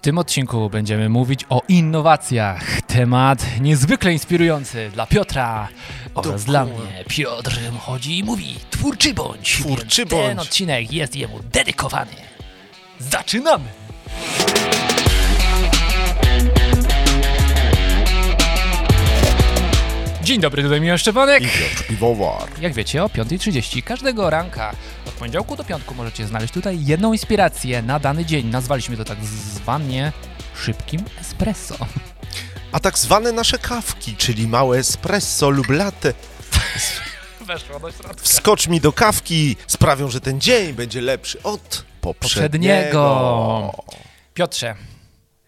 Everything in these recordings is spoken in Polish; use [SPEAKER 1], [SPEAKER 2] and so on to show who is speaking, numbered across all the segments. [SPEAKER 1] tym odcinku będziemy mówić o innowacjach. Temat niezwykle inspirujący dla Piotra oraz dla mnie. Piotr chodzi i mówi, twórczy bądź.
[SPEAKER 2] Twórczy
[SPEAKER 1] więc Ten
[SPEAKER 2] bądź.
[SPEAKER 1] odcinek jest jemu dedykowany. Zaczynamy! Dzień dobry, tutaj Michał Szczepanek.
[SPEAKER 2] I Piotr Piwowar.
[SPEAKER 1] Jak wiecie, o 5.30 każdego ranka od poniedziałku do piątku możecie znaleźć tutaj jedną inspirację na dany dzień. Nazwaliśmy to tak zwanie szybkim espresso.
[SPEAKER 2] A tak zwane nasze kawki, czyli małe espresso lub latte,
[SPEAKER 1] Weszło do środka.
[SPEAKER 2] wskocz mi do kawki, sprawią, że ten dzień będzie lepszy od poprzedniego.
[SPEAKER 1] Poprzedniego. Piotrze,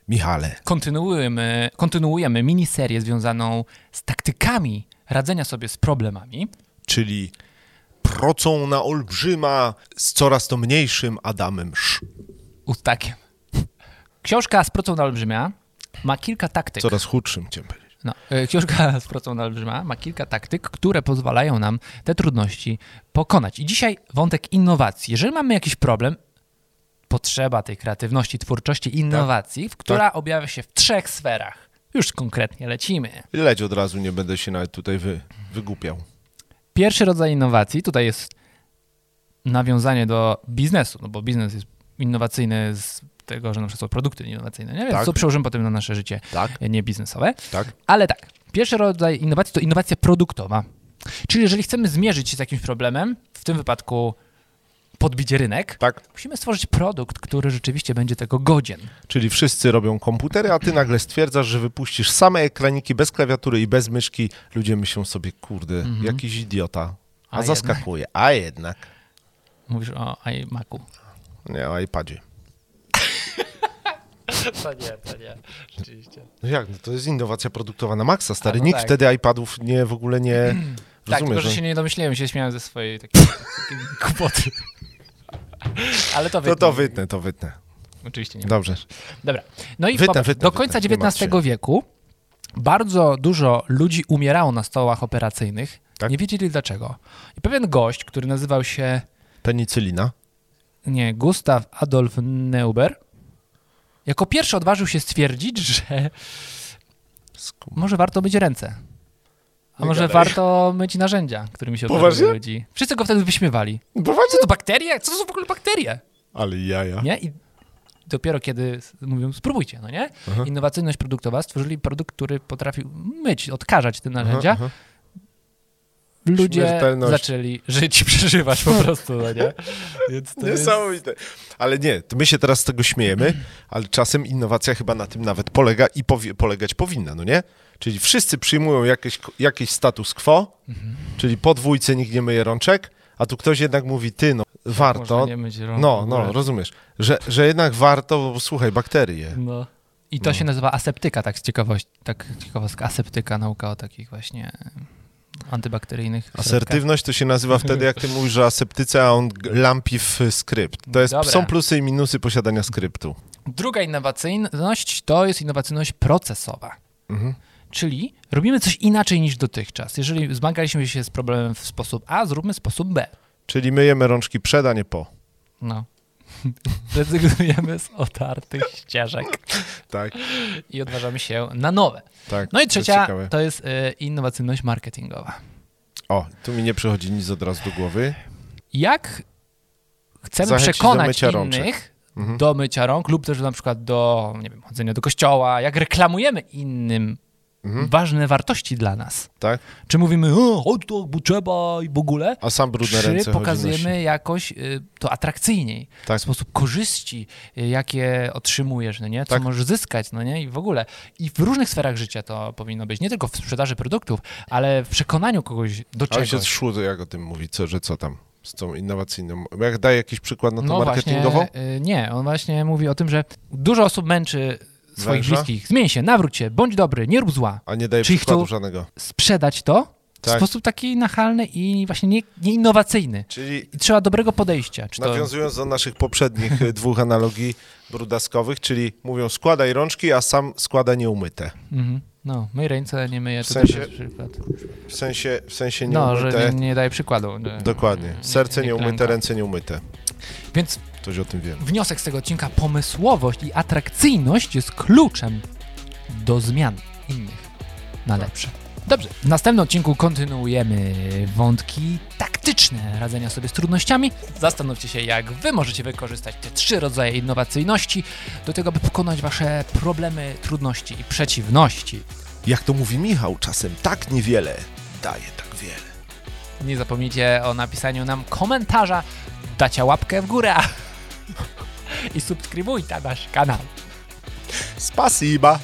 [SPEAKER 2] Michale,
[SPEAKER 1] kontynuujemy, kontynuujemy miniserię związaną z taktykami radzenia sobie z problemami.
[SPEAKER 2] czyli procą na olbrzyma z coraz to mniejszym Adamem Sz.
[SPEAKER 1] Ustakiem. Książka z procą na olbrzymia ma kilka taktyk.
[SPEAKER 2] Coraz chudszym, chciałem powiedzieć.
[SPEAKER 1] No, e, książka z procą na olbrzyma ma kilka taktyk, które pozwalają nam te trudności pokonać. I dzisiaj wątek innowacji. Jeżeli mamy jakiś problem, potrzeba tej kreatywności, twórczości, innowacji, w
[SPEAKER 2] Tak.
[SPEAKER 1] która objawia się w trzech sferach. Już konkretnie lecimy.
[SPEAKER 2] Leć od razu, nie będę się nawet tutaj wy, wygłupiał.
[SPEAKER 1] Pierwszy rodzaj innowacji tutaj jest nawiązanie do biznesu, no bo biznes jest innowacyjny z tego, że na przykład są produkty innowacyjne, nie? więc
[SPEAKER 2] Tak.
[SPEAKER 1] co przełożymy potem na nasze życie
[SPEAKER 2] Tak,
[SPEAKER 1] nie biznesowe.
[SPEAKER 2] tak.
[SPEAKER 1] Ale tak, pierwszy rodzaj innowacji to innowacja produktowa. Czyli jeżeli chcemy zmierzyć się z jakimś problemem, w tym wypadku podbić rynek,
[SPEAKER 2] Tak,
[SPEAKER 1] musimy stworzyć produkt, który rzeczywiście będzie tego godzien.
[SPEAKER 2] czyli wszyscy robią komputery, a ty nagle stwierdzasz, że wypuścisz same ekraniki bez klawiatury i bez myszki. Ludzie myślą sobie, kurde, jakiś idiota.
[SPEAKER 1] Mhm. A
[SPEAKER 2] A, zaskakuje. A jednak. No
[SPEAKER 1] Mówisz o iMacu.
[SPEAKER 2] Nie, o iPadzie.
[SPEAKER 1] To nie, to nie, rzeczywiście.
[SPEAKER 2] No jak, no to jest innowacja produktowa na maksa, stary.
[SPEAKER 1] A, no
[SPEAKER 2] Nikt
[SPEAKER 1] tak.
[SPEAKER 2] wtedy iPadów nie, w ogóle nie
[SPEAKER 1] Tak,
[SPEAKER 2] rozumie,
[SPEAKER 1] tylko że
[SPEAKER 2] że...
[SPEAKER 1] się nie domyśliłem, się śmiałem ze swojej takiej, takiej głupoty. Ale to
[SPEAKER 2] To
[SPEAKER 1] wytnę.
[SPEAKER 2] to wytnę, to wytnę.
[SPEAKER 1] Oczywiście nie.
[SPEAKER 2] Dobrze.
[SPEAKER 1] Dobra. No i
[SPEAKER 2] Wytnę,
[SPEAKER 1] popatrz,
[SPEAKER 2] wytnę,
[SPEAKER 1] do końca
[SPEAKER 2] wytnę, nie martw
[SPEAKER 1] XIX wieku bardzo dużo ludzi umierało na stołach operacyjnych.
[SPEAKER 2] Tak?
[SPEAKER 1] Nie wiedzieli dlaczego. I pewien gość, który nazywał się
[SPEAKER 2] Penicylina.
[SPEAKER 1] nie, Gustaw Adolf Neuber, jako pierwszy odważył się stwierdzić, że
[SPEAKER 2] Skum-
[SPEAKER 1] może warto myć ręce. A
[SPEAKER 2] Nie
[SPEAKER 1] może
[SPEAKER 2] gadaj.
[SPEAKER 1] warto myć narzędzia, którymi się
[SPEAKER 2] Poważnie?
[SPEAKER 1] operuje ludzi. Wszyscy go wtedy wyśmiewali.
[SPEAKER 2] Poważnie?
[SPEAKER 1] Co to bakterie? Co to są w ogóle bakterie?
[SPEAKER 2] Ale jaja.
[SPEAKER 1] Nie? I dopiero kiedy s- mówią, spróbujcie, no nie?
[SPEAKER 2] Aha.
[SPEAKER 1] Innowacyjność produktowa, stworzyli produkt, który potrafił myć, odkażać te narzędzia.
[SPEAKER 2] aha.
[SPEAKER 1] Ludzie
[SPEAKER 2] Śmiertelność.
[SPEAKER 1] zaczęli żyć, przeżywać po prostu, no nie? Więc to jest...
[SPEAKER 2] Niesamowite. Ale nie, to my się teraz z tego śmiejemy, ale czasem innowacja chyba na tym nawet polega i powie, polegać powinna, no nie? Czyli wszyscy przyjmują jakieś, jakieś status quo, czyli po dwójce nikt nie myje rączek, a tu ktoś jednak mówi, ty no, warto,
[SPEAKER 1] Można nie myć rąk w
[SPEAKER 2] No,
[SPEAKER 1] ogóle.
[SPEAKER 2] no, rozumiesz. Że, że jednak warto, bo słuchaj, bakterie.
[SPEAKER 1] No. I to się nazywa aseptyka, tak z ciekawości, tak ciekawostka, aseptyka, nauka o takich właśnie antybakteryjnych środkach.
[SPEAKER 2] Asertywność to się nazywa wtedy, jak ty mówisz, że aseptyce, a on g- lampi w skrypt. To jest,
[SPEAKER 1] Dobra.
[SPEAKER 2] są plusy i minusy posiadania skryptu.
[SPEAKER 1] Druga innowacyjność to jest innowacyjność procesowa.
[SPEAKER 2] Mhm.
[SPEAKER 1] Czyli robimy coś inaczej niż dotychczas. Jeżeli zmagaliśmy się z problemem w sposób A, zróbmy sposób B.
[SPEAKER 2] Czyli myjemy rączki przed, a nie po.
[SPEAKER 1] No. Rezygnujemy z otartych ścieżek
[SPEAKER 2] Tak,
[SPEAKER 1] i odważamy się na nowe.
[SPEAKER 2] tak.
[SPEAKER 1] No i
[SPEAKER 2] to jest
[SPEAKER 1] trzecia
[SPEAKER 2] ciekawe.
[SPEAKER 1] to jest e, innowacyjność marketingowa.
[SPEAKER 2] O, tu mi nie przychodzi nic od razu do głowy.
[SPEAKER 1] Jak chcemy
[SPEAKER 2] Zachęcić do
[SPEAKER 1] przekonać
[SPEAKER 2] mycia rączek.
[SPEAKER 1] innych
[SPEAKER 2] Mhm.
[SPEAKER 1] do mycia rąk lub też na przykład do, nie wiem, chodzenia do kościoła, jak reklamujemy innym
[SPEAKER 2] Mhm.
[SPEAKER 1] ważne wartości dla nas.
[SPEAKER 2] Tak?
[SPEAKER 1] Czy mówimy, o, chodź to, bo trzeba i w ogóle,
[SPEAKER 2] A sam brudne
[SPEAKER 1] czy
[SPEAKER 2] ręce chodzi nosi.
[SPEAKER 1] pokazujemy jakoś y, to atrakcyjniej,
[SPEAKER 2] Tak.
[SPEAKER 1] w sposób korzyści, y, jakie otrzymujesz, no nie? co
[SPEAKER 2] Tak.
[SPEAKER 1] możesz zyskać, no nie? I w ogóle. I w różnych sferach życia to powinno być, nie tylko w sprzedaży produktów, ale w przekonaniu kogoś do
[SPEAKER 2] Ale się
[SPEAKER 1] czegoś.
[SPEAKER 2] szło, jak o tym mówi, co, że co tam z tą innowacyjną. Jak daje jakiś przykład na to
[SPEAKER 1] no
[SPEAKER 2] marketingową?
[SPEAKER 1] właśnie, y, nie, on właśnie mówi o tym, że dużo osób męczy swoich
[SPEAKER 2] Węża?
[SPEAKER 1] bliskich. Zmień się, nawróć się, bądź dobry, nie rób zła.
[SPEAKER 2] A nie daje
[SPEAKER 1] Czyli
[SPEAKER 2] przykładu
[SPEAKER 1] chcą-
[SPEAKER 2] żadnego.
[SPEAKER 1] Sprzedać to w
[SPEAKER 2] Tak.
[SPEAKER 1] sposób taki nachalny i właśnie nie, nieinnowacyjny.
[SPEAKER 2] Czyli
[SPEAKER 1] I trzeba dobrego podejścia. Czy to...
[SPEAKER 2] Nawiązując do naszych poprzednich y, dwóch analogii brudaskowych, czyli mówią składaj rączki, a sam składa nieumyte.
[SPEAKER 1] Mhm. No, myj ręce, nie myję.
[SPEAKER 2] W
[SPEAKER 1] to też
[SPEAKER 2] sensie-
[SPEAKER 1] jest przykład.
[SPEAKER 2] W sensie, w sensie
[SPEAKER 1] No,
[SPEAKER 2] nieumyte.
[SPEAKER 1] że nie, nie daje przykładu. no. że-
[SPEAKER 2] Dokładnie.
[SPEAKER 1] nie-
[SPEAKER 2] Serce
[SPEAKER 1] nie
[SPEAKER 2] nieumyte,
[SPEAKER 1] klęka.
[SPEAKER 2] ręce nieumyte.
[SPEAKER 1] Więc
[SPEAKER 2] Coś o tym wiem.
[SPEAKER 1] Wniosek z tego odcinka: pomysłowość i atrakcyjność jest kluczem do zmian innych na lepsze. Dobrze, w następnym odcinku kontynuujemy wątki taktyczne radzenia sobie z trudnościami. Zastanówcie się, jak Wy możecie wykorzystać te trzy rodzaje innowacyjności do tego, by pokonać Wasze problemy, trudności i przeciwności.
[SPEAKER 2] Jak to mówi Michał, czasem tak niewiele daje tak wiele.
[SPEAKER 1] Nie zapomnijcie o napisaniu nam komentarza, dacie łapkę w górę a- i subskrybujcie nasz kanał.
[SPEAKER 2] Spasiba!